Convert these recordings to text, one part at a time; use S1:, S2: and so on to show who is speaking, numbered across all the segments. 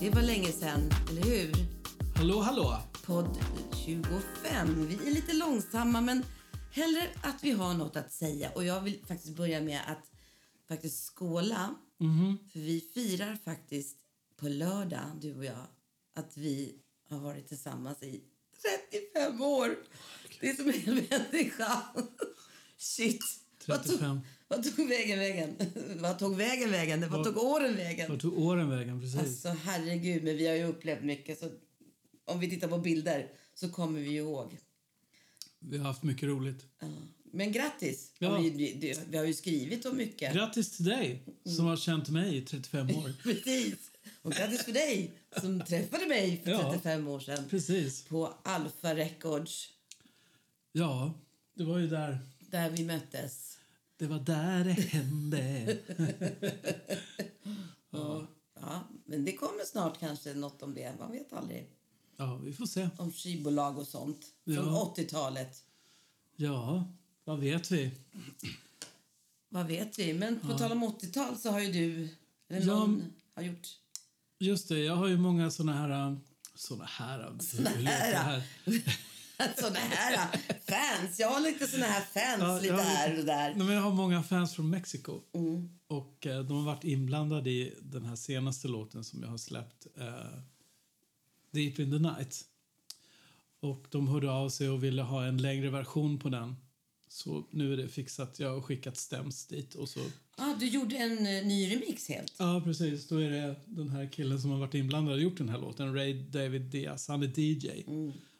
S1: Det var länge sedan, eller hur?
S2: Hallå, hallå!
S1: Podd 25. Vi är lite långsamma, men hellre att vi har något att säga. Och jag vill faktiskt börja med att faktiskt skåla.
S2: Mm-hmm.
S1: För vi firar faktiskt på lördag, du och jag, att vi har varit tillsammans i 35 år. Det är som en hel människa. Shit! Vad tog,
S2: 35.
S1: vad tog vägen vägen? Vad tog vägen vägen? Vad tog åren vägen?
S2: Vart tog åren vägen? Precis.
S1: Alltså herregud, men vi har ju upplevt mycket. Så om vi tittar på bilder så kommer vi ju ihåg.
S2: Vi har haft mycket roligt.
S1: Ja. Men grattis!
S2: Ja.
S1: Och Vi, vi, det- vi har ju skrivit om mycket.
S2: Grattis till dig som har känt mig i 35 år.
S1: Precis! Och grattis för dig som träffade mig för
S2: Ja.
S1: 35 år sedan
S2: Precis.
S1: på Alpha Records,
S2: Ja, det var ju där.
S1: där vi möttes.
S2: Det var där det hände.
S1: Ja, men det kommer snart kanske något om det. Man vet aldrig.
S2: Ja, vi får se.
S1: Om skivbolag och sånt. Från
S2: Ja.
S1: 80-talet.
S2: Ja, vad vet vi?
S1: Vad vet vi? Men på tal om 80-tal så har ju du, eller
S2: Ja.
S1: någon, har gjort
S2: Just det, jag har ju många såna här... äh, Såna här... Såna
S1: här. Såna här äh, fans. Jag har lite såna här fans lite här och där.
S2: Nej, men jag har många fans från Mexiko. Och eh, de har varit inblandade i den här senaste låten som jag har släppt, eh, Deep in the Night. Och de hörde av sig och ville ha en längre version på den. Så nu är det fixat. Jag har skickat stäms dit och så...
S1: Ah, du gjorde en eh, ny remix helt.
S2: Ja, precis. Då är det den här killen som har varit inblandad och gjort den här låten, Ray David Diaz. Han är DJ.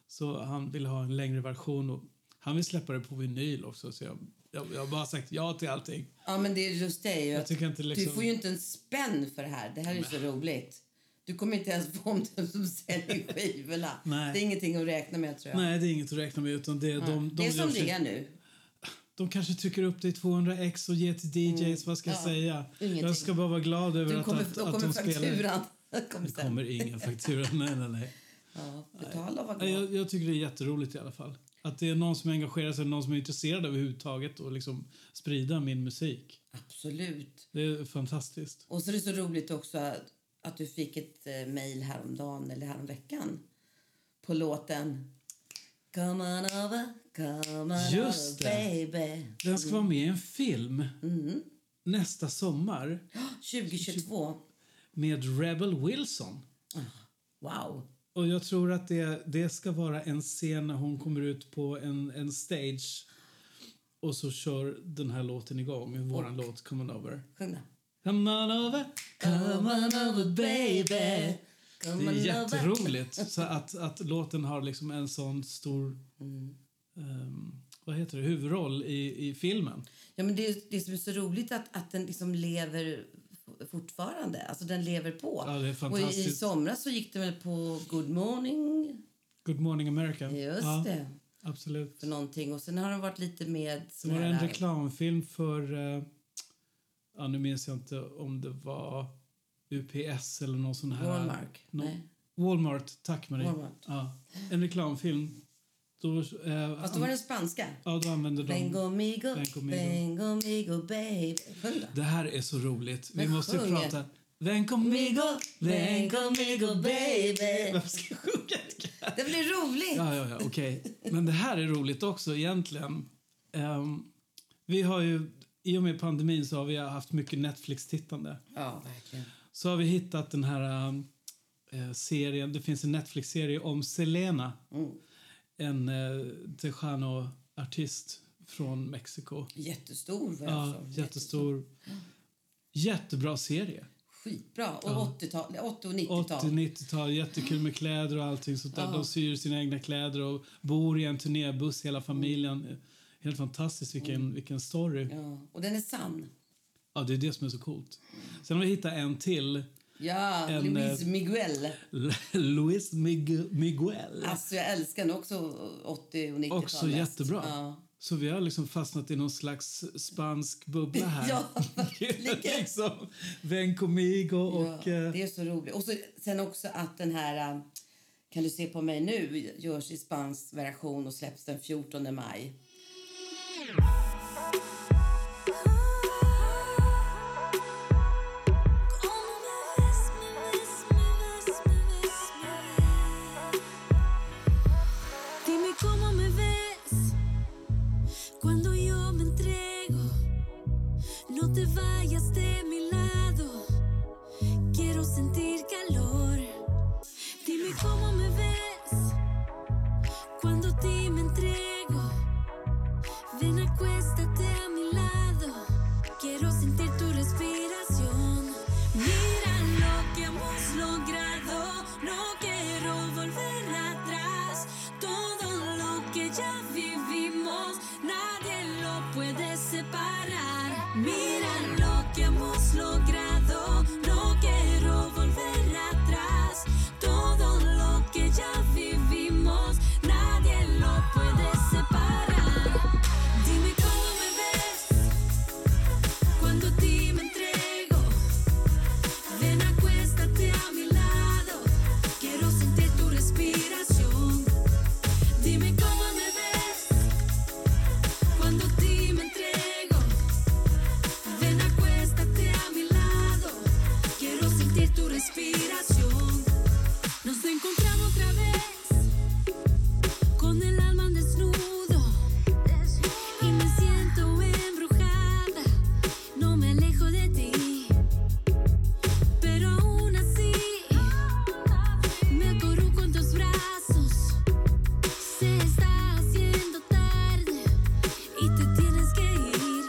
S2: Så han vill ha en längre version och han vill släppa det på vinyl också. Så jag, jag, jag har bara sagt ja till allting.
S1: Ja, men det är just det. ju att
S2: tycker inte liksom-
S1: Du får ju inte en spänn för det här. Det här är ju så roligt. Du kommer inte ens få om den som säljer skivorna.
S2: Nej.
S1: Det är ingenting att räkna med tror jag.
S2: Nej, det är inget att räkna med. Utan det, är de, de,
S1: Mm. det är
S2: gör
S1: som det är
S2: sig-
S1: nu.
S2: de kanske trycker upp det i 200x och ger till DJs. Vad ska jag
S1: Mm. Ja,
S2: säga?
S1: ingenting.
S2: Jag ska bara vara glad över
S1: Du
S2: att,
S1: kommer,
S2: att,
S1: då
S2: att
S1: kommer
S2: de spelar.
S1: fakturan. Kommer
S2: Det
S1: sen.
S2: kommer ingen faktura. Nej, nej, nej.
S1: Ja, betala och var
S2: nej
S1: glad.
S2: jag, jag tycker det är jätteroligt i alla fall. Att det är någon som engagerar sig, någon som är intresserad överhuvudtaget och liksom sprida min musik.
S1: Absolut.
S2: Det är fantastiskt.
S1: Och så är det så roligt också att, att du fick ett eh, mejl häromdagen eller häromveckan på låten Come on over, come on
S2: Just
S1: over
S2: det.
S1: baby.
S2: Den ska vara med i en film
S1: Mm.
S2: nästa sommar
S1: 2022.
S2: med Rebel Wilson.
S1: Wow.
S2: Och jag tror att det, det ska vara en scen när hon kommer ut på en, en stage och så kör den här låten igång, våran låt Come on over.
S1: Sjung då.
S2: Come on over, come on over baby.
S1: Come
S2: Det är
S1: on over.
S2: jätteroligt så att, att låten har liksom en sån stor
S1: Mm.
S2: ehm, vad heter det, huvudroll i, i filmen.
S1: Ja, men det, är- det som är så roligt att, att den liksom lever f- fortfarande. Alltså den lever på.
S2: Ja, det är
S1: och i, i
S2: fantastiskt.
S1: somras så gick den väl på Good morning.
S2: Good morning America.
S1: Just
S2: Ja,
S1: det.
S2: Absolut.
S1: För någonting. Och sen har den varit lite med...
S2: Det
S1: sån
S2: var en
S1: här-
S2: reklamfilm för... Eh, ja, nu minns jag inte om det var UPS eller någon sån här...
S1: Walmart.
S2: nå-
S1: Nej.
S2: Walmart, tack Marie.
S1: Walmart.
S2: Ja, en reklamfilm. Då, eh,
S1: Fast då var den spanska.
S2: ja, då använde de...
S1: Vengo migo,
S2: Vengo migo.
S1: vengo migo baby. Sjung då.
S2: Det här är så roligt. Vi
S1: Men
S2: måste
S1: sjung.
S2: prata... Vem conmigo, vem conmigo
S1: baby.
S2: baby. Varför ska jag sjunga?
S1: Det blir roligt.
S2: Ja, ja, ja, okej. Men det här är roligt också egentligen. Ehm, vi har ju, I och med pandemin så har vi haft mycket Netflix-tittande.
S1: Ja, verkligen.
S2: Så har vi hittat den här eh, serien, det finns en Netflix-serie om Selena. En eh, Tejano-artist från Mexiko.
S1: Jättestor vad jag
S2: Ja, Mm.
S1: förstår.
S2: jättestor. Jättebra serie.
S1: Skitbra. Och 80-tal, 80 och 90-tal.
S2: 80-90-tal, jättekul med kläder och allting sånt där. De syr sina egna kläder och bor i en turnébuss hela familjen. Helt fantastiskt, vilken, vilken story. Mm. Ja.
S1: Ja. Och den är sann.
S2: det är det som är så coolt. Sen har vi hittat en till.
S1: Ja,
S2: En,
S1: Luis
S2: eh,
S1: Miguel.
S2: Luis Mig- Miguel.
S1: Alltså jag älskar den också, 80 och 90-talet.
S2: Också jättebra.
S1: Ja.
S2: Så vi har liksom fastnat i någon slags spansk bubbla här.
S1: Ja,
S2: Det är liksom Ven Comigo och...
S1: ja,
S2: eh,
S1: det är så roligt. Och så, sen också att den här eh, Kan du se på mig nu görs i spansk version och släpps den 14 maj.
S3: Como me ves, me ves, me ves, Mirar lo que hemos logrado, no quiero volver atrás. Todo lo que ya vivimos, nadie lo puede separar. Dime cómo me ves cuando a ti me entrego. Ven, acuéstate a mi lado, quiero sentir tu respiración. Dime cómo me ves cuando a ti me entrego. Ven, acuéstate a mi lado. Quiero sentir tu respiración. Nos encontramos otra vez con el alma desnudo. Y me siento embrujada. No me alejo de ti. Pero aún así, me acorruco con tus brazos. Se está haciendo tarde y te tienes que ir.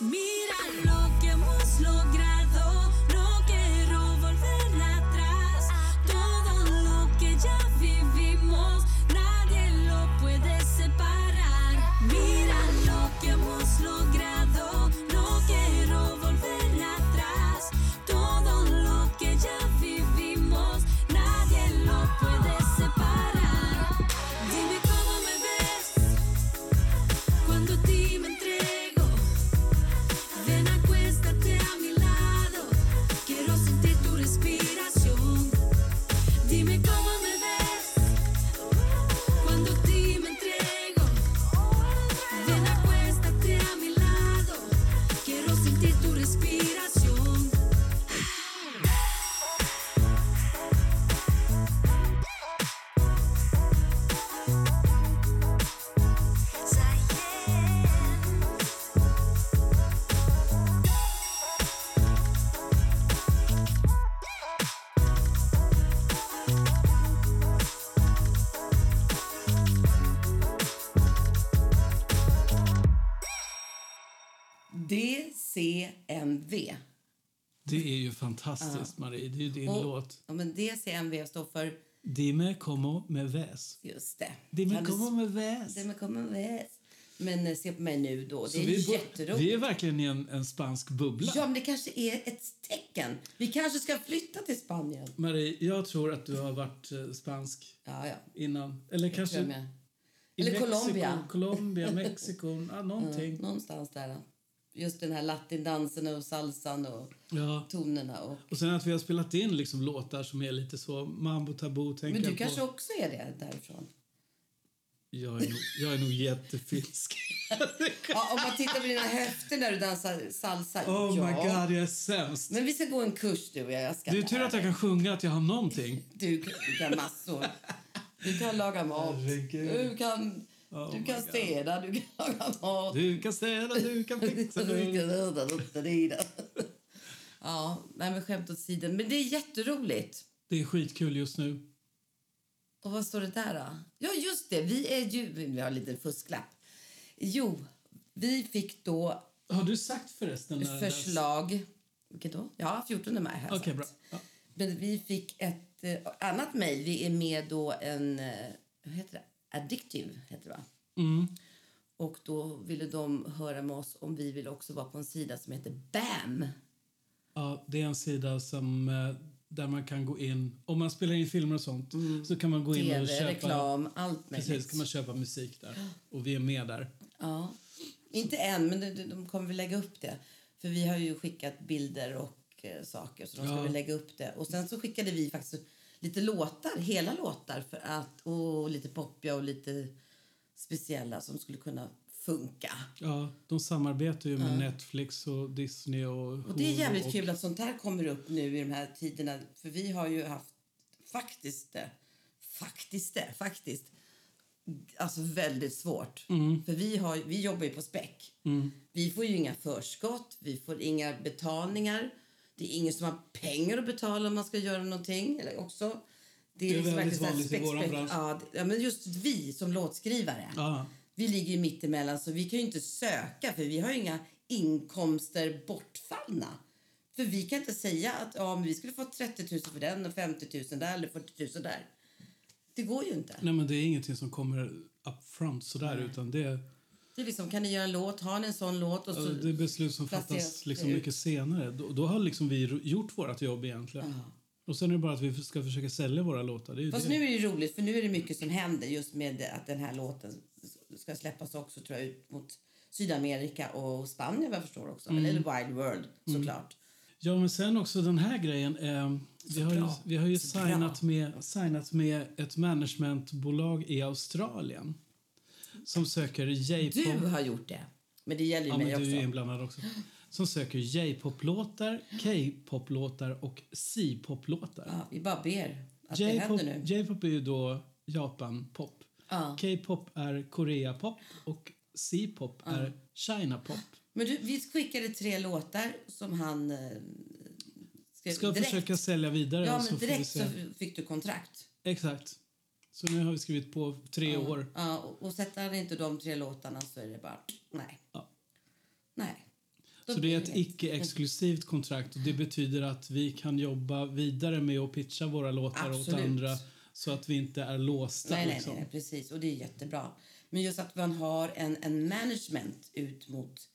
S3: Mira lo que hemos logrado, no quiero volver atrás. Todo lo que ya vivimos, nadie lo puede separar. Mira lo que hemos logrado, no quiero volver atrás. Todo lo que ya vivimos, nadie lo puede separar. Dime cómo me ves cuando a ti me entrego. Ven, acuéstate a mi lado. Quiero sentir tu respiración. Dime cómo me ves cuando a ti me entrego. Ven, acuéstate a mi lado. Quiero sentir tu respiración.
S1: DCMV.
S2: Det är ju fantastiskt, Marie. Det är ju din
S1: Och-
S2: låt.
S1: Ja, men DCMV står för
S2: Dime como me ves.
S1: just det.
S2: Dime
S1: Kan du-
S2: como me ves.
S1: Dime como ves. Men eh, se på mig nu då. Det
S2: Så
S1: är
S2: vi, bo-
S1: jätteroligt.
S2: vi är verkligen i en, en spansk bubbla.
S1: Ja, men det kanske är ett tecken. Vi kanske ska flytta till Spanien.
S2: Marie, jag tror att du har varit eh, spansk
S1: Ja, ja.
S2: innan. Eller
S1: Kanske.
S2: kanske
S1: Jag med.
S2: i
S1: Eller
S2: Mexiko,
S1: Colombia.
S2: Colombia, Mexiko, ja, någonting.
S1: Någonstans där. Just den här latindansen och salsan och
S2: Ja.
S1: tonerna. Och...
S2: Och sen att vi har spelat in liksom låtar som är lite så mambo tabu tänker
S1: Men du
S2: jag på.
S1: kanske också är det därifrån?
S2: Jag är nog, jag är nog jättefinsk.
S1: Ja, om man tittar på dina höfter när du dansar salsa.
S2: Oh
S1: ja.
S2: my god, jag är sämst.
S1: Men vi ska gå en kurs du och jag. jag ska
S2: Det är tur att jag kan sjunga, att jag har någonting.
S1: Du kan massor. Du kan laga mat.
S2: Herregud.
S1: Du kan,
S2: Oh
S1: du
S2: my
S1: kan
S2: God.
S1: städa, du kan laga mat.
S2: Du kan städa, du kan fixa. Du.
S1: Ja, nej men skämt åt sidan. Men det är jätteroligt.
S2: Det är skitkul just nu.
S1: Och vad står det där då? Ja, just det. Vi är ju... Vi har en liten fusklapp. Jo, vi fick då
S2: Har du sagt förresten? när det där-
S1: förslag... Vilket då? Ja, 14 maj. har jag sagt.
S2: Okej, bra. Ja.
S1: Men vi fick ett eh, annat mejl. Vi är med då en... Eh, vad heter det? Addictive heter det, va?
S2: Mm.
S1: Och då ville de höra med oss om vi vill också vara på en sida som heter BAM.
S2: Ja, det är en sida som, eh, där man kan gå in... Om man spelar in filmer och sånt så kan man gå in
S1: TV,
S2: och köpa...
S1: Mm. reklam, liksom. allt möjligt.
S2: Precis, kan man köpa musik där. Och vi är med där.
S1: Ja. Inte än, men de, de kommer väl lägga upp det. För vi har ju skickat bilder och eh, saker, så de ska
S2: Ja.
S1: väl lägga upp det. Och sen så skickade vi faktiskt lite låtar, hela låtar, för att, och lite poppiga och lite speciella som skulle kunna funka.
S2: Ja, de samarbetar ju med Netflix och Disney och
S1: Och det är
S2: Hulu
S1: jävligt
S2: Mm, och-
S1: kul att sånt här kommer upp nu i de här tiderna. För vi har ju haft faktiskt det, faktiskt det, faktiskt. Alltså väldigt svårt.
S2: Mm.
S1: För vi, har, vi jobbar ju på späck. Vi får ju inga förskott, vi får inga betalningar. Det är ingen som har pengar att betala om man ska göra någonting. Eller också.
S2: Det är
S1: liksom
S2: väldigt
S1: verkligen
S2: vanligt
S1: så här
S2: i våran
S1: späck,
S2: bransch.
S1: späck. Ja, det- ja, men just vi som låtskrivare.
S2: Ja,
S1: Vi ligger ju mittemellan så vi kan ju inte söka för vi har ju inga inkomster bortfallna. För vi kan inte säga att ja, men vi skulle få 30 000 för den och 50 000 där eller 40 000 där. Det går ju inte.
S2: nej men det är ingenting som kommer upfront sådär utan det...
S1: Det är liksom, kan ni göra en låt? Har ni en sån låt? Och så,
S2: Alltså, det är beslut som
S1: placeras
S2: fattas liksom
S1: det ut.
S2: mycket senare. Då, då har liksom vi ro- gjort vårt jobb egentligen. Och sen är det bara att vi ska försöka sälja våra låtar. Det är ju
S1: Fast
S2: det.
S1: nu är det ju roligt, för nu är det mycket som händer just med att den här låten ska släppas också tror jag ut mot Sydamerika och Spanien vad jag förstår också.
S2: Mm.
S1: Eller Wild World såklart.
S2: Ja, men sen också den här grejen. Eh, vi, har ju,
S1: bra.
S2: vi har ju
S1: Så bra.
S2: signat med, signat med ett managementbolag i Australien som söker
S1: Du
S2: J-pop...
S1: har gjort det. Men det gäller ju
S2: Mm. Ja, men
S1: mig
S2: du är
S1: också.
S2: inblandad också. Som söker J-pop-låtar, K-pop-låtar och C-pop-låtar.
S1: Ja, vi bara ber att det
S2: J-pop
S1: händer nu.
S2: J-pop är ju då Japan-pop.
S1: Ja.
S2: K-pop är Korea-pop och C-pop är China-pop.
S1: Men du, vi skickade tre låtar som han eh, skrev
S2: Ska
S1: direkt.
S2: försöka sälja vidare.
S1: ja,
S2: så
S1: men
S2: får vi
S1: direkt
S2: se.
S1: så fick du kontrakt.
S2: Exakt. Så nu har vi skrivit på tre år.
S1: Ja, och, och sätter han inte de tre låtarna så är det bara nej.
S2: Ja.
S1: Nej. Då
S2: Så det
S1: blir
S2: är ett
S1: inget.
S2: icke-exklusivt kontrakt och det betyder att vi kan jobba vidare med att pitcha våra låtar åt
S1: Absolut.
S2: andra så att vi inte är låsta.
S1: Nej, nej,
S2: liksom.
S1: nej, precis. Och det är jättebra. Men just att man har en, en management ut mot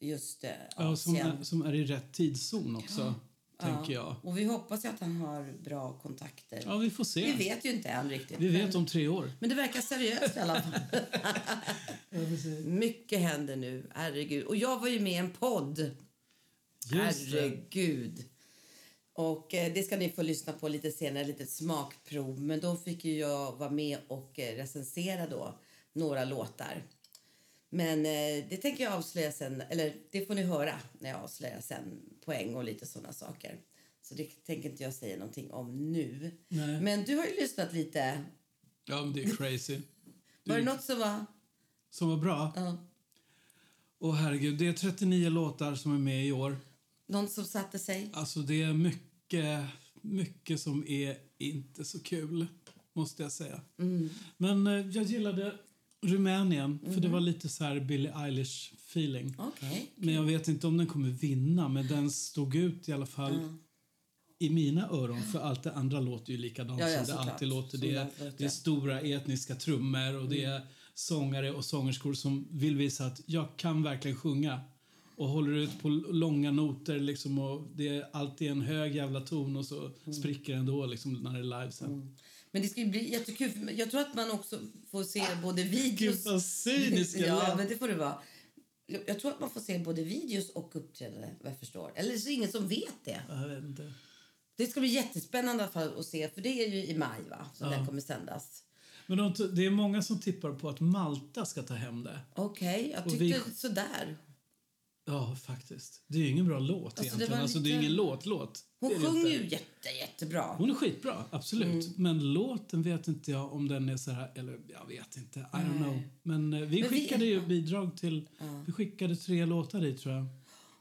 S1: just eh,
S2: Ja, som,
S1: Asien.
S2: är, som är i rätt tidszon också, tänker jag.
S1: Och vi hoppas ju att han har bra kontakter.
S2: Ja, vi får se.
S1: Vi vet ju inte än riktigt.
S2: Vi vet om tre år.
S1: Men det verkar seriöst i alla fall. Mycket händer nu, herregud. Och jag var ju med i en podd.
S2: Just det.
S1: Herregud. Och eh, det ska ni få lyssna på lite senare, lite smakprov. Men då fick ju jag vara med och eh, recensera då några låtar. Men eh, det tänker jag avslöja sen, eller det får ni höra när jag avslöjar sen poäng och lite sådana saker. Så det tänker inte jag säga någonting om nu.
S2: Nej.
S1: Men du har ju lyssnat lite.
S2: Ja, men det är crazy.
S1: Var det något som var...
S2: Som var bra.
S1: Ja.
S2: Åh herregud, det är 39 låtar som är med i år.
S1: Någon som satte sig?
S2: Alltså det är mycket, mycket som är inte så kul, måste jag säga. Men eh, jag gillade Rumänien, för det var lite så här Billie Eilish-feeling.
S1: Okej.
S2: Men jag vet inte om den kommer vinna, men den stod ut i alla fall i mina öron. För allt det andra låter ju likadant
S1: Ja, ja,
S2: som det
S1: såklart. Mm.
S2: alltid låter.
S1: Som
S2: Det
S1: det
S2: är,
S1: alltid låter,
S2: det är
S1: ja.
S2: stora etniska trummor och det är sångare och sångerskor som vill visa att jag kan verkligen sjunga. Och håller ut på l- långa noter liksom och det är alltid en hög jävla ton och så
S1: Mm.
S2: spricker den då liksom när det är live sen.
S1: Men det ska ju bli jättekul. för Jag tror att man också får se både videos...
S2: Gud vad cynisk jag
S1: Ja,
S2: lät.
S1: men det får det vara. Jag jag tror att man får se både videos och uppträdanden, vad jag förstår. Eller så är det ingen som vet det.
S2: Jag vet inte.
S1: Det ska bli jättespännande i alla fall att se, för det är ju i maj va? som den kommer sändas.
S2: Men de, t- det är många som tippar på att Malta ska ta hem det.
S1: Okej, jag
S2: Och
S1: tyckte
S2: vi-
S1: sådär.
S2: Ja, faktiskt. Det är ju ingen bra låt
S1: det
S2: egentligen.
S1: var
S2: Alltså, det är
S1: lite-
S2: ingen låt-låt.
S1: Hon
S2: Det är det
S1: sjunger
S2: inte.
S1: ju Mm. jätte, jättebra.
S2: Hon är skitbra, absolut. Men låten vet inte jag om den är så här... Eller jag vet inte. I don't know. Men eh, vi
S1: Men vi-
S2: skickade ju bidrag till... Vi skickade tre låtar dit, tror jag.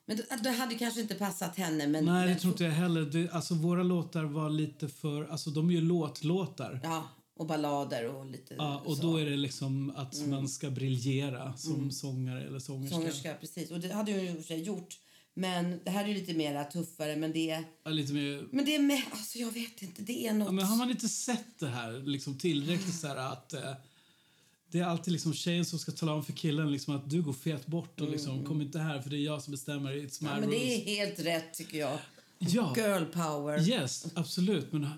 S1: Men det, det hade kanske inte passat henne. Men,
S2: Nej, det
S1: men,
S2: tror inte jag heller. Det, alltså, våra låtar var lite för... Alltså, de är ju låtlåtar. Ja.
S1: Ja, och ballader och lite
S2: och
S1: så. Mm.
S2: då är det liksom att man ska briljera som sångare eller sångerska.
S1: Sångerska, precis. Och det hade hon ju i och för sig gjort. Men det här är ju lite mer tuffare, men det...
S2: Ja, Lite mer...
S1: Men det är med... Alltså jag vet inte, det är något...
S2: Ja, men har man inte sett det här liksom, tillräckligt så här att eh, det är alltid liksom tjejen som ska tala om för killen liksom, att du går fet bort och liksom, kom inte här för det är jag som bestämmer, it's my
S1: Mm. Ja,
S2: rules.
S1: men det är helt rätt tycker jag.
S2: Ja,
S1: Girl power.
S2: yes, absolut, men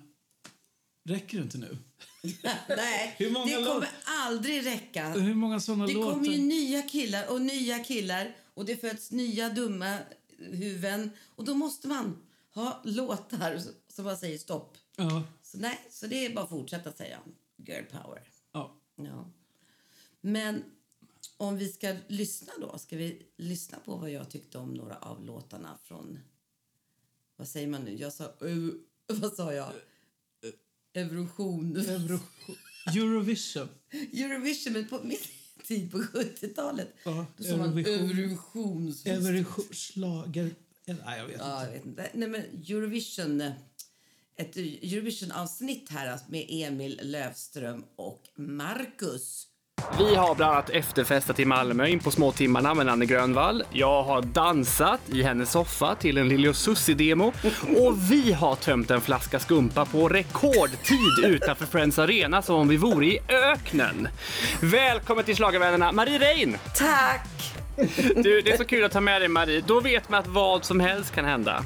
S2: räcker det inte nu?
S1: Nej,
S2: Hur många
S1: det kommer
S2: låt-
S1: aldrig räcka.
S2: Hur många såna
S1: Det
S2: låtar?
S1: kommer ju nya killar och nya killar och det föds nya dumma huvuden. Och då måste man ha låtar som bara säger stopp.
S2: Ja,
S1: Så nej, så det är bara att fortsätta säga girl power.
S2: ja.
S1: Ja. Men om vi ska lyssna då, ska vi lyssna på vad jag tyckte om några av låtarna från... Vad säger man nu? Jag sa... eu- Vad sa jag? Eurovision.
S2: Euro... Eurovision.
S1: Eurovision, men på min tid på 70-talet.
S2: Ja,
S1: Då sa man
S2: Eurovision.
S1: Eurovision.
S2: Eurovision. Schlager. Nej, jag vet
S1: Ja,
S2: inte.
S1: jag vet inte. Nej, men Eurovision... Ett Eurovision-avsnitt här alltså, med Emil Lövström och Marcus
S4: Vi har bland annat efterfestat i Malmö in på små timmarna med Nanne Grönvall. Jag har dansat i hennes soffa till en Lili och Susie-demo. Och vi har tömt en flaska skumpa på rekordtid utanför Friends Arena som om vi vore i öknen. Välkommen till schlagervännerna Marie Rein!
S1: Tack!
S4: Du, det är så kul att ta med dig Marie. Då vet man att vad som helst kan hända.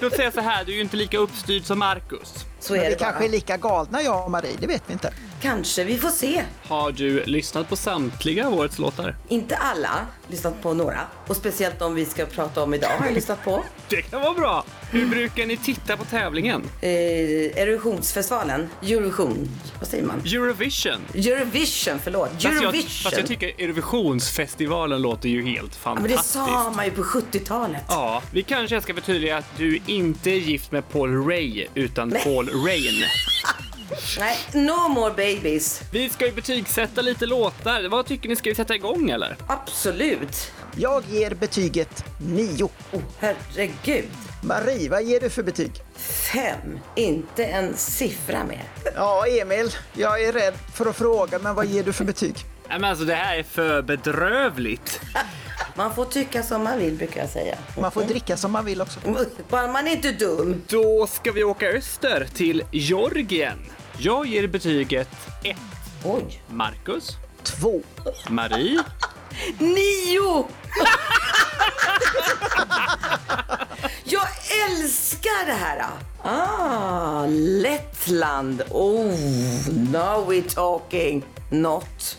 S4: Låt säga så här, du är ju inte lika uppstyrd som Marcus.
S1: Så är
S5: Vi
S1: det
S5: kanske
S1: bara.
S5: är lika galna jag och Marie, det vet vi inte.
S1: Kanske, vi får se.
S4: Har du lyssnat på samtliga av årets låtar?
S1: Inte alla, lyssnat på några. Och speciellt de vi ska prata om idag har jag lyssnat på.
S4: Det kan vara bra! Hur brukar ni titta på tävlingen?
S1: Eh, Erosionsfestivalen, Eurovision, vad säger man?
S4: Eurovision!
S1: Eurovision, förlåt.
S4: Fast
S1: Eurovision.
S4: jag, fast jag tycker Eurovisionsfestivalen låter ju helt
S1: ja, men det
S4: fantastiskt.
S1: sa man ju på 70-talet.
S4: Ja, vi kanske ska förtydliga att du inte är gift med Paul Ray, utan Paul Rain.
S1: Nej, no more babies.
S4: Vi ska ju betygsätta lite låtar. Vad tycker ni, ska vi sätta igång eller?
S1: Absolut.
S5: Jag ger betyget 9.
S1: Oh, herregud.
S5: Marie, vad ger du för betyg?
S1: Fem. Inte en siffra mer.
S5: Ja, Emil, jag är rädd för att fråga, men vad ger du för betyg?
S4: Nej men alltså det här är för bedrövligt.
S1: Man får tycka som man vill, brukar jag säga.
S5: Man får dricka som man vill också.
S1: Bara man är inte dum.
S4: Då ska vi åka öster till Georgien. Jag ger betyget 1.
S1: Oj.
S4: Marcus,
S5: Två.
S4: Marie,
S1: Nio! jag älskar det här! Ah, Lettland. Oh, now we're talking. Not.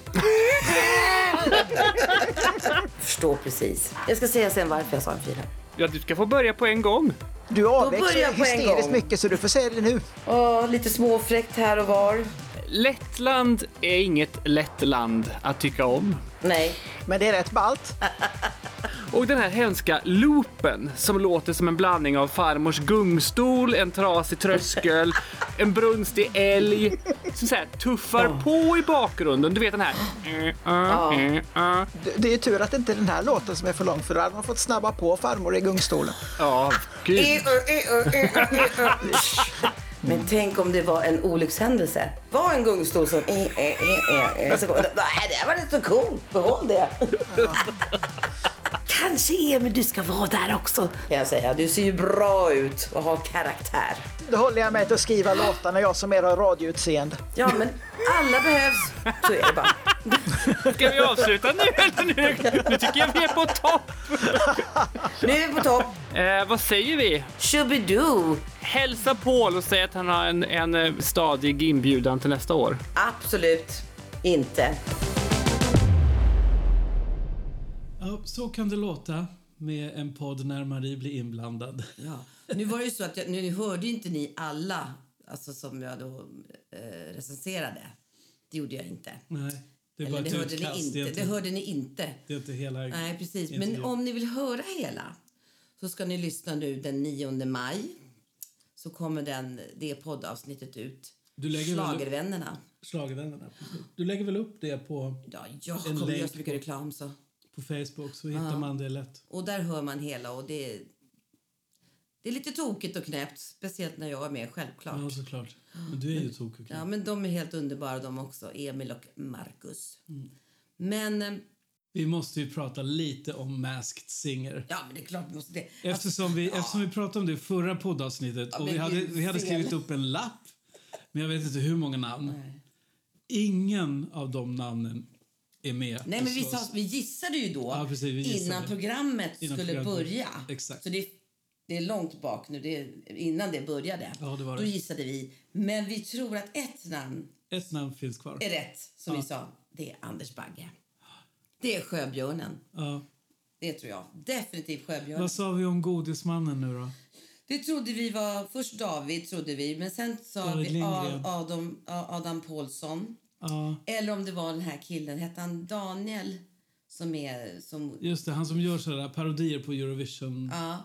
S1: Förstår precis. Jag ska säga sen varför jag sa en fyra.
S4: ja du ska få börja på en gång.
S5: Du
S1: börjar
S5: avväxlar
S1: jag på en
S5: hysteriskt
S1: gång.
S5: mycket så du får säga det nu.
S1: Åh, lite småfräckt här och var.
S4: Lettland är inget lätt land att tycka om.
S1: Nej.
S5: Men det är rätt ballt.
S4: Och den här hemska loopen som låter som en blandning av farmors gungstol, en trasig tröskel, en brunstig älg som så här tuffar på i bakgrunden. Du vet den här.
S5: Det- Det är ju tur att det inte är den här låten som är för lång för då hade man fått snabba på farmor i gungstolen.
S4: Ja,
S1: Eh.
S4: gud.
S1: Men tänk om det var en olyckshändelse. Var en gungstol som... Nej, det var inte så cool. Behåll det. Kanske Emil, du ska vara där också. Kan jag säga. Du ser ju bra ut och har karaktär.
S5: Då håller jag mig till att skriva låtarna, jag som är av radioutseende.
S1: Ja, men alla behövs. Så är det bara.
S4: Ska vi avsluta nu eller? Nu, nu tycker jag vi är på topp.
S1: Nu är vi på topp.
S4: Eh, vad säger vi?
S1: Shubidoo.
S4: Hälsa Paul och säg att han har en, en eh, stadig inbjudan till nästa år.
S1: Absolut inte.
S2: Ja, så kan det låta med en podd när Marie blir inblandad.
S1: Ja. Nu var det ju så att jag, nu hörde ju inte ni alla alltså som jag då eh, recenserade. Det gjorde jag inte.
S2: Nej, det är bara
S1: Eller det
S2: ett
S1: hörde ni
S2: utkast.
S1: inte.
S2: Det, är
S1: Det
S2: inte,
S1: hörde ni inte.
S2: det är inte hela...
S1: Nej, precis.
S2: inte
S1: Men
S2: jag.
S1: om ni vill höra hela så ska ni lyssna nu den 9 maj. Så kommer den, det poddavsnittet ut.
S2: Du lägger väl upp-
S1: Schlagervännerna.
S2: Schlagervännerna. Du lägger väl upp det på,
S1: Ja, jag
S2: En
S1: kommer
S2: länk
S1: göra så mycket
S2: på-
S1: reklam så.
S2: på Facebook så hittar man det lätt.
S1: Och där hör man hela och det, det är lite tokigt och knäppt. Speciellt när jag är med, självklart.
S2: Ja, såklart. Men du är ju tokig.
S1: Ja, men de är helt underbara de också, Emil och Marcus.
S2: Mm.
S1: Men, eh,
S2: Vi måste ju prata lite om Masked Singer.
S1: ja men det är klart vi måste det.
S2: Eftersom vi, eftersom vi pratade om det i förra poddavsnittet och
S1: men
S2: vi hade,
S1: gud,
S2: vi hade
S1: fel.
S2: skrivit upp en lapp men jag vet inte hur många namn. Ingen av de namnen är med.
S1: Nej men vi,
S2: hos
S1: sa,
S2: oss.
S1: vi gissade ju då
S2: Alltså, Ja, precis, vi gissade.
S1: innan programmet
S2: Innan
S1: skulle
S2: programmet-
S1: börja.
S2: Exakt.
S1: Så det, det är långt bak nu, det, är- innan det började.
S2: Ja, det var
S1: Då
S2: det.
S1: gissade vi, men vi tror att ett namn
S2: Ett namn finns kvar.
S1: är rätt, som vi sa. Det är Anders Bagge. Det är Sjöbjörnen.
S2: Ja.
S1: Det tror jag. Definitivt Sjöbjörnen.
S2: Vad sa vi om Godismannen nu då?
S1: Det trodde vi var... Först David, trodde vi, men sen sa
S2: David
S1: vi
S2: Lindgren.
S1: Ad- Adam, Adam Paulsson.
S2: Ja,
S1: Eller om det var den här killen, hette han Daniel? Som är... Som,
S2: just det, han som gör sådana parodier på Eurovision.
S1: ja,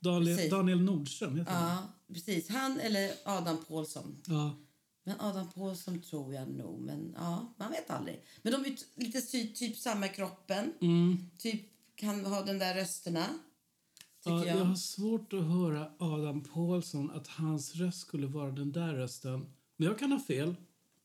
S2: Daniel,
S1: precis.
S2: Daniel Nordström heter han.
S1: ja, precis. Han eller Adam Paulsson.
S2: Ja.
S1: Men Adam Paulsson tror jag nog, men ja, man vet aldrig. Men de är ju t- lite sy, typ samma i kroppen.
S2: Mm.
S1: Typ kan ha den där rösterna.
S2: Ja,
S1: Tycker
S2: jag har
S1: jag.
S2: svårt att höra Adam Paulsson, att hans röst skulle vara den där rösten. Men jag kan ha fel.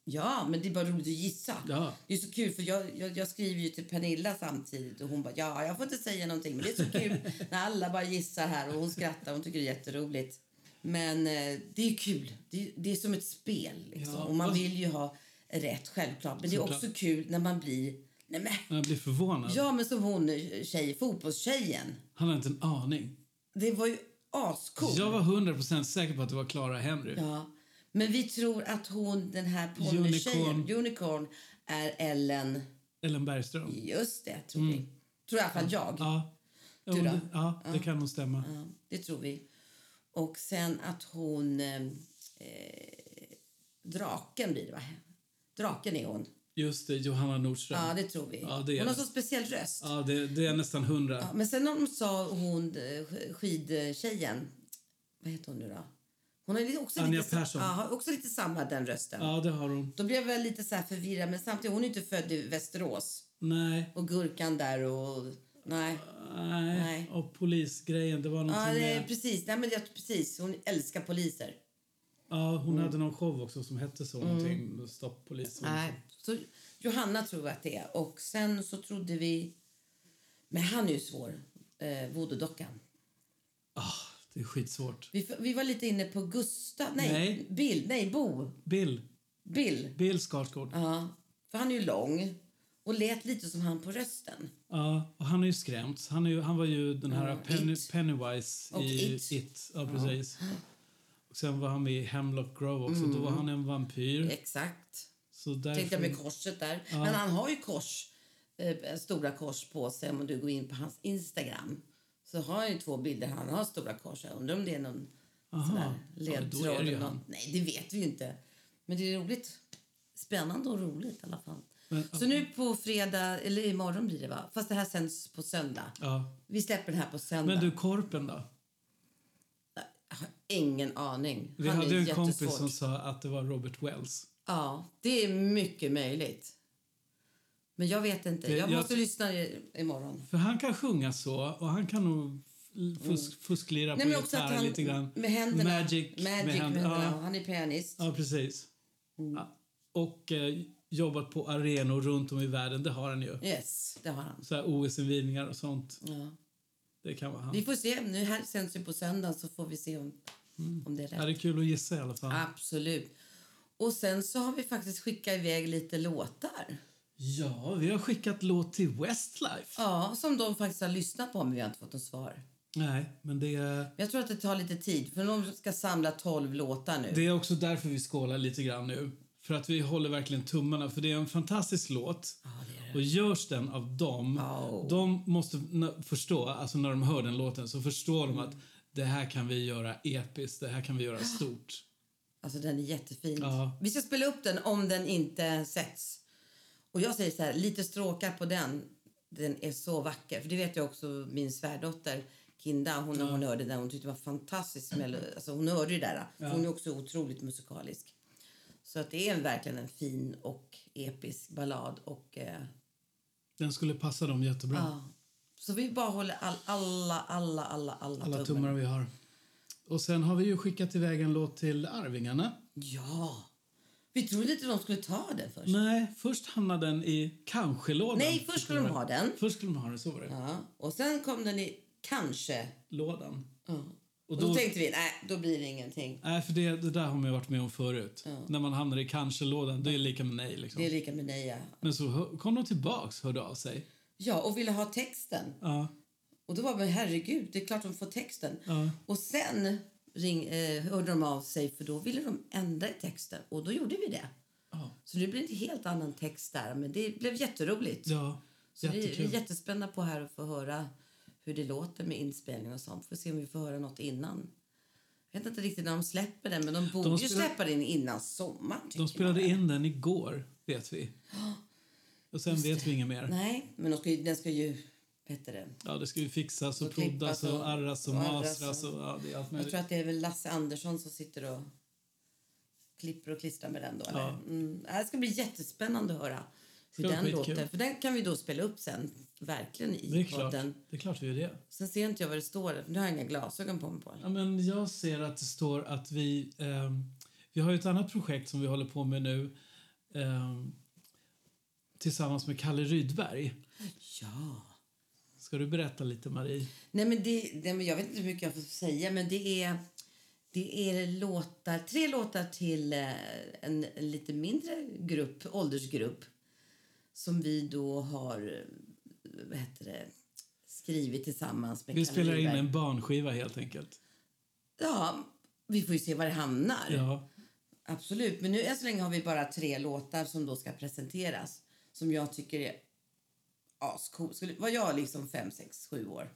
S1: Ja, men det är bara roligt att gissa.
S2: Ja.
S1: Det är så kul, för jag, jag, jag skriver ju till Pernilla samtidigt och hon bara ja, jag får inte säga någonting, men det är så kul när alla bara gissar här och hon skrattar, hon tycker det är jätteroligt. Men eh, det är kul, det är, det är som ett spel liksom.
S2: Ja,
S1: och man
S2: fast-
S1: vill ju ha rätt självklart, men det är
S2: Såklart.
S1: också kul när man blir, nej men,
S2: Jag blir förvånad.
S1: ja men som hon eh, tjej, fotbollstjejen,
S2: Han hade inte en aning.
S1: det var ju ascool.
S2: Jag var 100% säker på att det var Clara Henry.
S1: Ja. Men vi tror att hon, den här ponnytjejen, unicorn. är Ellen...
S2: Ellen Bergström.
S1: Just det, tror vi. Tror i alla fall jag.
S2: Mm. Ja. Ja,
S1: Du
S2: men
S1: då?
S2: det- ja, det kan nog stämma.
S1: Ja, det tror vi. Och sen att hon... Eh, eh, draken blir det, va? Draken är hon.
S2: Just det, Johanna Nordström.
S1: Ja, det tror vi.
S2: Ja, det är
S1: hon har
S2: det.
S1: så speciell röst.
S2: Ja, det, det är nästan hundra.
S1: Ja, men sen när de sa hon, eh, sk- skidtjejen... Vad heter hon nu då? Hon har ju också
S2: Anja
S1: lite,
S2: Persson.
S1: Ja, har också lite samma den rösten.
S2: Ja, det har hon.
S1: Då blev jag lite så här förvirrad, men samtidigt, hon är inte född i Västerås.
S2: Nej.
S1: Och gurkan där och... Nej.
S2: Nej.
S1: Nej.
S2: Och polisgrejen, det var någonting
S1: Ja, det är
S2: med...
S1: precis. Nej, men jag, precis. Hon älskar poliser.
S2: Ja, hon
S1: Mm.
S2: hade någon show också som hette så. Någonting, Stopppolis. och
S1: Nej. Så Johanna tror jag att det är. Och sen så trodde vi... Men han är ju svår. Eh, Voodoo-dockan.
S2: Ah, det är skitsvårt.
S1: Vi, f- vi var lite inne på Gustav... Nej,
S2: Nej.
S1: Bill. Nej, Bo.
S2: Bill.
S1: Bill.
S2: Bill Skarsgård. Ja.
S1: Ja. För han är ju lång och lät lite som han på rösten.
S2: och han är ju skrämt. Han, är ju, han var ju den här Penny,
S1: It.
S2: Pennywise
S1: Och
S2: i
S1: It.
S2: It. Ja, precis. Och sen var han med i Hemlock Grove också. Då var han en vampyr.
S1: Exakt.
S2: Så därför...
S1: Mm. Tänkte jag med korset där. Men han har ju kors, eh, stora kors på sig om du går in på hans Instagram. Så har han ju två bilder. Han har stora kors. Jag undrar om det är någon
S2: Aha.
S1: sån där
S2: Ja, men då är
S1: ledtråd.
S2: det ju
S1: eller något.
S2: han.
S1: Nej, det vet vi ju inte. Men det är roligt. Spännande och roligt i alla fall.
S2: Men-
S1: Så nu på fredag, eller imorgon blir det va? Fast det här sänds på söndag.
S2: Ja.
S1: Vi släpper den här på söndag.
S2: Men du, Korpen då?
S1: Jag har ingen aning.
S2: Vi
S1: Han
S2: hade
S1: är
S2: en kompis
S1: jättesvår.
S2: som sa att det var Robert Wells.
S1: Ja, det är mycket möjligt. Men jag vet inte.
S2: Det-
S1: Jag
S2: jag-
S1: måste lyssna i, imorgon.
S2: För han kan sjunga så och han kan nog fusk, fusklira på
S1: Mm. Nej, men också att
S2: gitarr
S1: han,
S2: lite grann.
S1: med händerna.
S2: Magic,
S1: Magic med
S2: händer-
S1: händerna.
S2: Ja,
S1: Han är pianist.
S2: ja, precis.
S1: Mm.
S2: Ja. Och eh, jobbat på arenor runt om i världen, det har han ju.
S1: Yes, det har han.
S2: Så här OS-invigningar och sånt.
S1: Ja.
S2: Det kan vara han.
S1: Vi får se. Nu här sänds ju på söndag så får vi se om, om det är rätt.
S2: Mm. Ja, det är kul att gissa i alla fall.
S1: Absolut. Och sen så har vi faktiskt skickat iväg lite låtar.
S2: Ja, vi har skickat låt till Westlife.
S1: Ja, som de faktiskt har lyssnat på men vi har inte fått något svar.
S2: Nej, men det är,
S1: Men jag tror att det tar lite tid för de ska samla 12 låtar nu.
S2: det är också därför vi skålar lite grann nu. För att vi håller verkligen tummarna, för det är en fantastisk låt. Och görs den av dem,
S1: Oh.
S2: de måste n- förstå, alltså när de hör den låten så förstår
S1: Mm.
S2: de att det här kan vi göra episkt, det här kan vi göra stort.
S1: Alltså den är jättefin.
S2: Ja.
S1: Vi ska spela upp den om den inte sätts. Och jag säger så här, lite stråkar på den. Den är så vacker. För det vet jag också min svärdotter Kinda, hon, när hon hörde den, hon tyckte det var fantastisk melo- alltså hon hörde ju det där. För Hon är också otroligt musikalisk. Så att det är en, verkligen en fin och episk ballad. Och, eh,
S2: Den skulle passa dem jättebra.
S1: ja. Så vi bara håller all, alla, alla, alla, alla,
S2: Alla tummar vi har. Och sen har vi ju skickat iväg en låt till Arvingarna.
S1: Ja! Vi trodde inte de skulle ta den först.
S2: Nej, först hamnade den i kanske-lådan.
S1: Nej, först skulle de ha den.
S2: Först skulle de ha den, så var det.
S1: Ja, och sen kom den i kanske.
S2: Lådan.
S1: Och
S2: Och
S1: då,
S2: då-
S1: tänkte vi, nej, då blir det ingenting.
S2: Nej, för det, det där har man ju varit med om förut. När man hamnar i kanske-lådan, det är lika med nej. Liksom.
S1: Det är lika med nej. ja.
S2: Men så hö- kom de tillbaks, hörde av sig.
S1: Ja, och ville ha texten.
S2: Ja,
S1: Och då var man, herregud, det är klart de får texten.
S2: Ja.
S1: Och sen ring, eh, hörde de av sig, för då ville de ändra i texten. Och då gjorde vi det.
S2: Ja.
S1: Så nu blir det en helt annan text där, men det blev jätteroligt.
S2: ja
S1: Så vi, vi är
S2: jättekul.
S1: jättespända på här att få höra hur det låter med inspelning och sånt. Får se om vi får höra något innan. Jag vet inte riktigt när de släpper den, men de borde ju
S2: spelar-
S1: släppa den innan sommaren. tycker
S2: De spelade
S1: jag.
S2: in den igår, vet vi. Och sen vet vi inget mer.
S1: Nej, men de ska ju, den ska ju... Vad heter det?
S2: Ja, det ska ju fixas och
S1: Och klippas
S2: proddas
S1: och-
S2: och arras och
S1: och arras
S2: masras och ja, det är allt
S1: Jag
S2: möjligt.
S1: tror att det är väl Lasse Andersson som sitter och klipper och klistrar med den. Då, eller?
S2: Ja.
S1: Mm. Det ska bli jättespännande att höra hur
S2: Ska bli
S1: den
S2: skitkul.
S1: låter. För den kan vi då spela upp sen, verkligen
S2: Det är
S1: i
S2: klart,
S1: podden.
S2: det är klart vi gör det.
S1: Sen ser inte jag vad det står, för nu har jag inga glasögon på mig. På.
S2: Ja, men jag ser att det står att vi... ehm, vi har ju ett annat projekt som vi håller på med nu eh, tillsammans med Kalle Rydberg.
S1: Ja.
S2: Ska du berätta lite, Marie?
S1: Nej, men det, nej, men jag vet inte hur mycket jag får säga, men det är, det är låtar, tre låtar till eh, en, en lite mindre grupp, åldersgrupp som vi då har eh, vad heter det, skrivit tillsammans med
S2: Vi
S1: Kalle
S2: spelar in
S1: Rydberg.
S2: en barnskiva, helt enkelt.
S1: Ja, vi får ju se var det hamnar.
S2: Ja.
S1: Absolut, men nu än så länge har vi bara tre låtar som då ska presenteras som jag tycker är ascool. Skulle, var jag liksom fem, sex, sju år?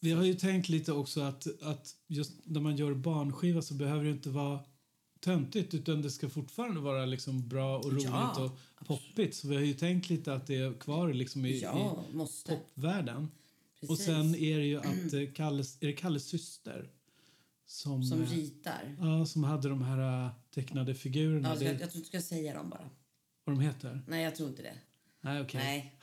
S2: Vi har ju tänkt lite också att, att just när man gör barnskiva så behöver det inte vara töntigt utan det ska fortfarande vara liksom bra och roligt
S1: Ja,
S2: och poppigt. Så vi har ju tänkt lite att det är kvar liksom i,
S1: Ja, måste.
S2: i popvärlden.
S1: Precis.
S2: Och sen är det ju att eh, Kalles, är det Kalles syster som,
S1: som
S2: eh,
S1: ritar.
S2: ja, som hade de här eh, tecknade figurerna.
S1: Ja, jag,
S2: det,
S1: jag tror inte jag ska säga dem bara.
S2: Vad de heter?
S1: Nej, jag tror inte det.
S2: Nej, okej.
S1: Nej.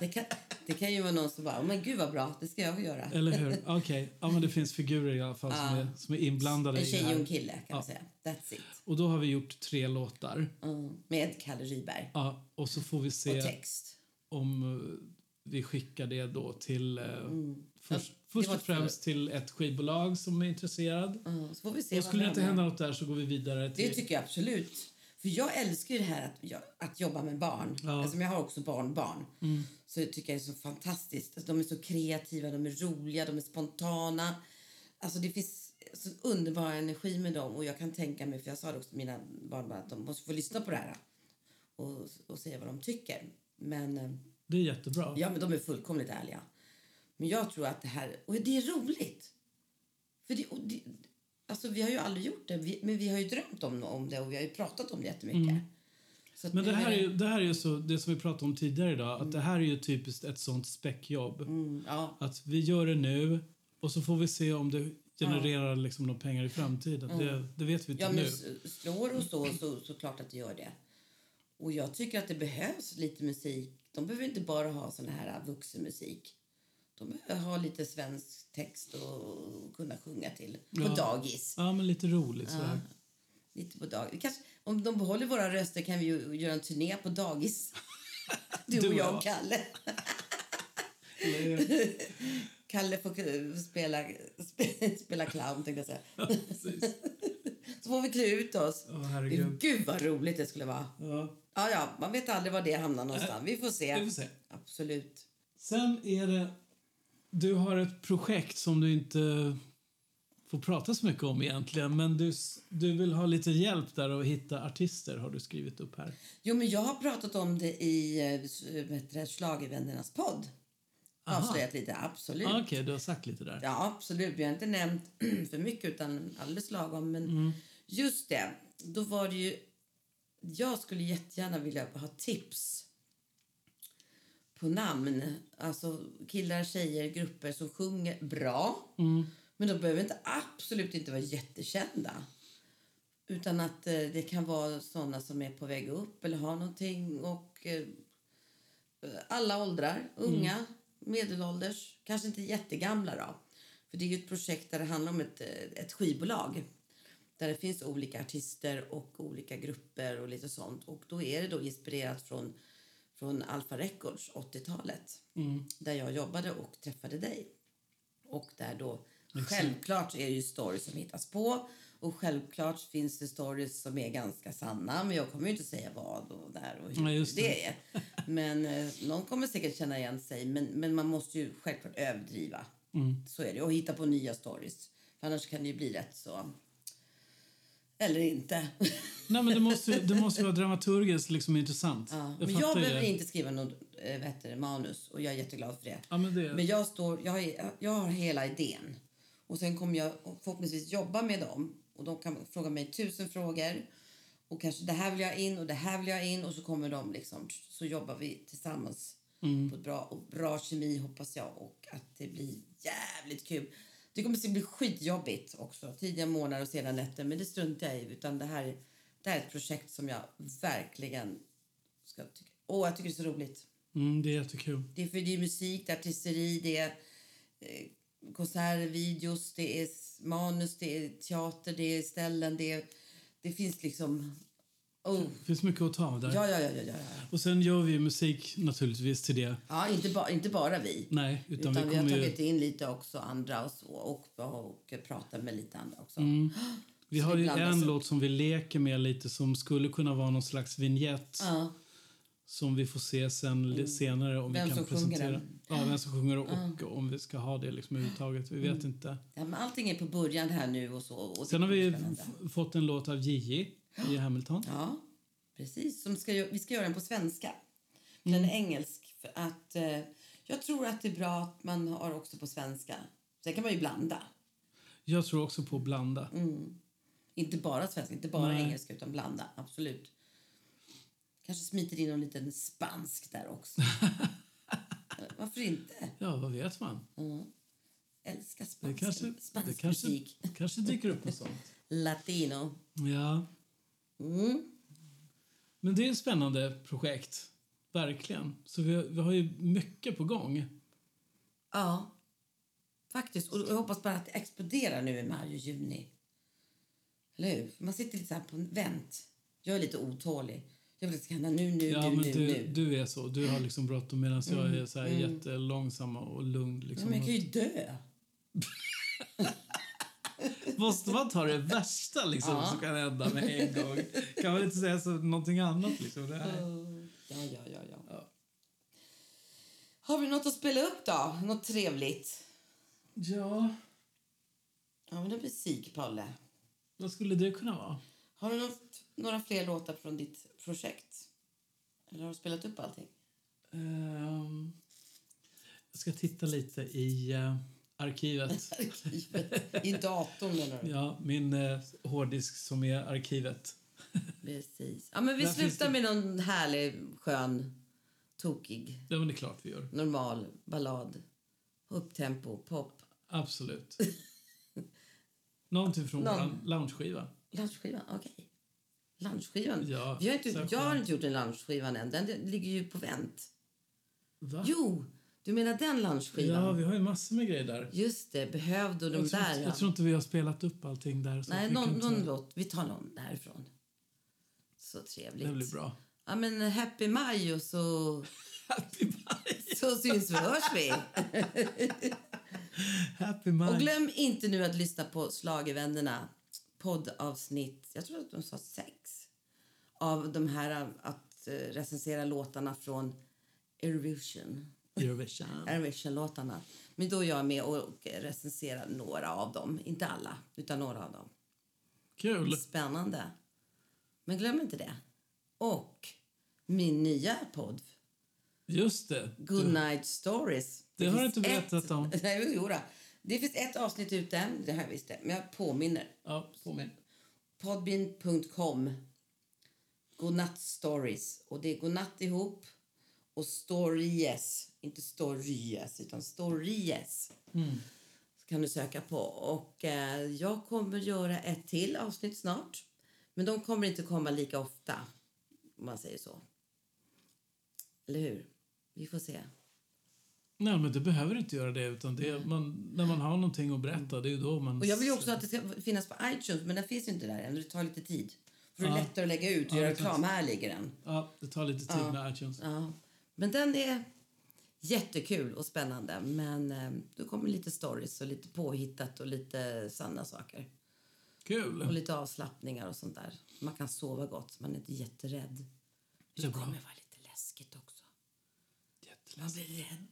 S1: Det kan, det kan ju vara någon som bara, "Åh, men gud vad bra, det ska jag väl göra.
S2: Eller hur? Okej. Ja, men det finns figurer i alla fall som, är, som är inblandade
S1: En
S2: i det
S1: tjej och en
S2: här.
S1: kille kan man säga. That's it.
S2: Och då har vi gjort tre låtar.
S1: Mm. Med Kalle Rydberg
S2: Ja, och så får vi
S1: och
S2: se
S1: text.
S2: om eh, vi skickar det då till... eh, Först,
S1: Mm. Ja, det
S2: först
S1: var
S2: och
S1: ett
S2: främst till ett skivbolag som är intresserad.
S1: Mm. Så får vi se
S2: Och
S1: vad
S2: skulle det
S1: det
S2: inte
S1: hamnar.
S2: hända något där så går vi vidare till...
S1: Det tycker jag absolut. För jag älskar ju det här att, jag- att jobba med barn. Alltså, men jag har också barnbarn. Mm. Så jag tycker jag det är så fantastiskt. Alltså, de är så kreativa, de är roliga, de är spontana. Alltså det finns så underbar energi med dem. Och jag kan tänka mig, för jag sa det också till mina barnbarn, att de måste få lyssna på det här. Och, och säga vad de tycker. Men eh,
S2: det är jättebra.
S1: ja, men de är fullkomligt ärliga. Men jag tror att det här, och det är roligt. För det, och det, alltså vi har ju aldrig gjort det, vi, men vi har ju drömt om, om det och vi har ju pratat om det jättemycket. Så att
S2: Mm. Men det
S1: jag
S2: här är
S1: menar-
S2: ju, det här är ju så, det som vi pratade om tidigare idag, att det här är ju typiskt ett sånt späckjobb.
S1: Mm, ja,
S2: Att vi gör det nu och så får vi se om det genererar liksom några pengar i framtiden. Det, det vet vi inte
S1: Mm. ja men
S2: nu.
S1: s- slår och så, så, så klart att det gör det. Och jag tycker att det behövs lite musik. De behöver inte bara ha sån här äh, vuxenmusik. De behöver ha lite svensk text och kunna sjunga till på
S2: Ja.
S1: dagis.
S2: Ja, men lite roligt sådär.
S1: Lite på dag. Vi kanske, om de behåller våra röster kan vi ju göra en turné på dagis. Du,
S2: Du
S1: och
S2: och
S1: jag
S2: jag.
S1: och Kalle.
S2: Eller-
S1: Kalle får k- spela, spe- spela clown, tänkte jag säga.
S2: Precis.
S1: Så får vi klä ut oss.
S2: Åh, herregud.
S1: Gud, vad roligt det skulle vara.
S2: Ja.
S1: Ja, ja, man vet aldrig var det hamnar någonstans. Vi får
S2: Vi
S1: se.
S2: får se.
S1: Absolut.
S2: Sen är det... Du har ett projekt som du inte får prata så mycket om egentligen. Men du, du vill ha lite hjälp där att hitta artister har du skrivit upp här.
S1: Jo, men jag har pratat om det i eh, s- vad heter det, Schlagervännernas podd.
S2: Aha.
S1: Avslöjat lite, absolut.
S2: Ah, Okej, du har sagt lite där.
S1: Ja, absolut. Vi har inte nämnt för mycket, utan alldeles lagom. Men just det, då var det ju... Jag skulle jättegärna vilja ha tips på namn. Alltså killar, tjejer, grupper som sjunger bra. Men de behöver inte, absolut inte vara jättekända. Utan att eh, det kan vara såna som är på väg upp eller har någonting. Och eh, alla åldrar. Unga, medelålders, kanske inte jättegamla. Då. För Det är ju ett projekt där det handlar om ett, eh, ett skivbolag där det finns olika artister och olika grupper och lite sånt. Och Då är det då inspirerat från, från Alfa Records, 80-talet
S2: Mm.
S1: där jag jobbade och träffade dig. Och där då Självklart är det ju stories som hittas på och självklart finns det stories som är ganska sanna men jag kommer ju inte säga vad och när och hur
S2: Nej, just
S1: det.
S2: det.
S1: är. Men eh, någon kommer säkert känna igen sig men, men man måste ju självklart överdriva.
S2: Mm.
S1: Så är det. Och hitta på nya stories. För annars kan det ju bli rätt så... Eller inte.
S2: Nej, men det måste, det måste ju vara dramaturgiskt liksom intressant.
S1: Ja, men jag
S2: fattar ju
S1: behöver
S2: det.
S1: inte skriva något äh, vad heter det, manus och jag är jätteglad för det.
S2: Ja, men det-
S1: Men jag, står, jag, är, jag har hela idén och sen kommer jag förhoppningsvis jobba med dem och de kan fråga mig tusen frågor och kanske det här vill jag in och det här vill jag in och så kommer de liksom så jobbar vi tillsammans på ett bra och bra kemi hoppas jag och att det blir jävligt kul. Det kommer att bli skitjobbigt också, tidiga morgnar och sena nätter men det struntar jag i utan det här, det här är ett projekt som jag verkligen ska tycka. Åh, jag tycker det är så roligt.
S2: Mm, det är jättekul.
S1: Det är, för det är musik, det är artisteri, det är eh, konserter, videos, det är s- manus, det är teater, det är ställen, det är... Det finns liksom Oh.
S2: Det finns mycket att ta av där.
S1: Ja, ja, ja, ja, ja. ja.
S2: Och sen gör vi ju musik naturligtvis till det.
S1: ja inte, ba, inte bara vi.
S2: Nej, utan,
S1: Utan,
S2: vi
S1: vi har
S2: kommer ju...
S1: tagit in lite också andra och så och, och pratat med lite andra också.
S2: Mm. Vi
S1: så
S2: har
S1: det
S2: ju
S1: blandas
S2: en
S1: upp.
S2: låt som vi leker med lite som skulle kunna vara någon slags vignett
S1: Ja.
S2: som vi får se sen li- senare om
S1: Mm. Vem
S2: vi kan
S1: som sjunger
S2: presentera.
S1: den.
S2: Ja, vem som sjunger och om vi ska ha det liksom överhuvudtaget. Vi vet
S1: Mm.
S2: inte.
S1: Ja, men allting är på början här nu och så. Och det
S2: Sen har vi
S1: kommer spännande.
S2: f- fått en låt av Gigi i Hamilton.
S1: Ja, precis. Som ska, gö- vi ska göra den på svenska. Den
S2: Mm.
S1: är engelsk. För att, eh, jag tror att det är bra att man har också på svenska. Sen kan man ju blanda.
S2: Jag tror också på att blanda.
S1: Mm. Inte bara svenska, inte bara
S2: Nej.
S1: engelska, utan blanda. Absolut. Kanske smiter in någon liten spansk där också. Eh, Varför inte?
S2: Ja, vad vet man?
S1: Älskar spansk,
S2: Det kanske,
S1: spansk
S2: det kanske,
S1: musik.
S2: kanske dyker upp något sånt.
S1: Latino.
S2: Ja.
S1: Mm.
S2: Men det är ett spännande projekt. Verkligen. Så vi, vi har ju mycket på gång.
S1: Ja, faktiskt. Och jag hoppas bara att det exploderar nu i maj och juni. Eller hur? För Man sitter lite så här på vänt. Jag är lite otålig. Jag vill att det ska hända nu, nu,
S2: Ja,
S1: nu,
S2: men
S1: nu,
S2: du,
S1: nu. Mm,
S2: du är så. Du har liksom bråttom medan jag är så här jättelångsam och lugn.
S1: Ja,
S2: Liksom.
S1: men jag kan ju dö.
S2: Måste man ta det värsta liksom, som kan hända med en gång? Kan man inte säga så, någonting annat? Liksom? Det här.
S1: Ja, ja, ja, ja, Har vi något att spela upp då? Något trevligt?
S2: Ja,
S1: Ja, men det är musik, Palle.
S2: vad skulle det kunna vara?
S1: Har du något, några fler låtar från ditt projekt? Eller har du spelat upp allting?
S2: Ehm, jag ska titta lite i eh, arkivet.
S1: Arkivet. I datorn eller?
S2: Ja, min eh, hårddisk som är arkivet.
S1: Precis. Ja, men vi
S2: Där finns
S1: slutar med
S2: det-
S1: någon härlig, skön, tokig,
S2: Ja, men det är klart vi gör.
S1: normal ballad. Upptempo, pop.
S2: Absolut. Någonting från
S1: Någon.
S2: vår loungeskiva.
S1: Lunchskivan, okej. Lunchskivan?
S2: Ja,
S1: Vi har inte,
S2: särskilt.
S1: jag har inte gjort en lunchskivan än. Den ligger ju på vänt.
S2: Va?
S1: Jo, du menar den lunchskivan?
S2: ja, vi har ju massor med grejer där.
S1: Just det, behövde och de
S2: Jag tror,
S1: där.
S2: inte,
S1: ja.
S2: jag tror inte vi har spelat upp allting där. Så att
S1: Nej,
S2: vi
S1: någon,
S2: kan ta-
S1: någon låt. Vi tar någon därifrån. Så
S2: Det
S1: trevligt.
S2: blir bra.
S1: Ja, men happy maj och så,
S2: Happy Maj!
S1: så syns vi och hörs vi.
S2: Happy Maj!
S1: Och glöm inte nu att lyssna på Schlagervännerna poddavsnitt, jag tror att de sa sex, av de här um, att eh, recensera låtarna från Eurovision.
S2: Eurovision.
S1: Eurovision-låtarna. Men då är jag med och recenserar några av dem. Inte alla, utan några av dem.
S2: Kul!
S1: Spännande. Men glöm inte det. Och min nya podd,
S2: Just det. Du,
S1: Goodnight Stories.
S2: Det har du
S1: finns
S2: inte berättat
S1: ett...
S2: om.
S1: Nej, jo, jodå. Det finns ett avsnitt ute, det här visste jag, men jag påminner.
S2: ja, påminn.
S1: Podbean.com. Godnatt Stories. Och det är godnatt ihop och stories. Inte stories, utan stories.
S2: Mm.
S1: Så kan du söka på. Och eh, jag kommer göra ett till avsnitt snart. Men de kommer inte komma lika ofta, om man säger så. Eller hur? Vi får se.
S2: Nej, men du behöver inte göra det. Utan det är, man, när man har någonting att berätta, det är ju då man...
S1: Och jag vill ju också att det ska finnas på iTunes, men den finns ju inte där än. Det tar lite tid. För det är
S2: Ja.
S1: lättare att lägga ut och
S2: Ja,
S1: göra
S2: det kan-
S1: reklam. Här ligger den.
S2: Ja, det tar lite tid med iTunes.
S1: Ja, men den är jättekul och spännande. Men eh, då kommer lite stories och lite påhittat och lite sanna saker. Och
S2: Kul!
S1: lite avslappningar och sånt där. Man kan sova gott så man är inte jätterädd.
S2: är
S1: Det
S2: bra.
S1: kommer vara lite läskigt också.
S2: Jättelätt
S1: Man blir rädd.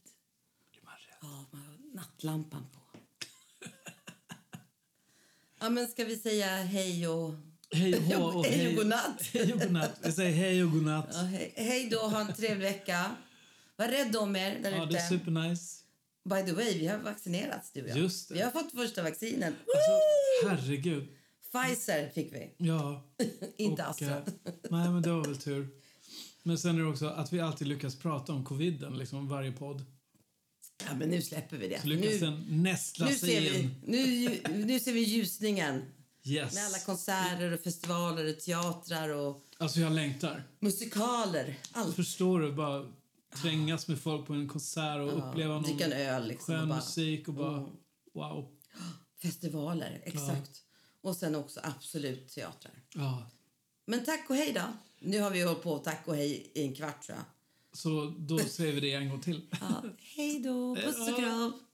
S2: blir man rädd.
S1: Ja, man har nattlampan på. Ja, men ska vi säga hej och...
S2: Hej och hå och
S1: hej
S2: hej.
S1: och godnatt.
S2: Hej och godnatt. Vi säger hej och godnatt.
S1: Ja, hej, hej då, ha en trevlig vecka. Var rädd om er där
S2: Ja,
S1: ute.
S2: det är supernice.
S1: By the way, vi har vaccinerats du och jag.
S2: Just det.
S1: Vi har fått första vaccinen.
S2: Alltså, herregud.
S1: Pfizer fick vi,
S2: Ja.
S1: inte
S2: och,
S1: Astra.
S2: eh, nej, men det var väl tur. Men sen är det också att vi alltid lyckas prata om coviden, liksom varje podd.
S1: Ja, men nu släpper vi det.
S2: Så lyckas
S1: Nu,
S2: den nästla
S1: nu,
S2: sig
S1: ser
S2: in.
S1: vi, nu, nu ser vi ljusningen
S2: Yes.
S1: med alla konserter och festivaler och teatrar och
S2: Alltså, jag längtar.
S1: musikaler. Allt.
S2: Förstår du? Bara trängas med folk på en konsert och uppleva någon
S1: Dricka en öl liksom.
S2: skön
S1: och bara, Mm.
S2: musik och bara wow.
S1: festivaler, exakt. Och sen också absolut teatrar.
S2: Ja,
S1: Men tack och hej då. Nu har vi hållit på tack och hej i en kvart tror jag.
S2: Så då säger vi det en gång till. Eh,
S1: Ja. Hej då, puss och kram.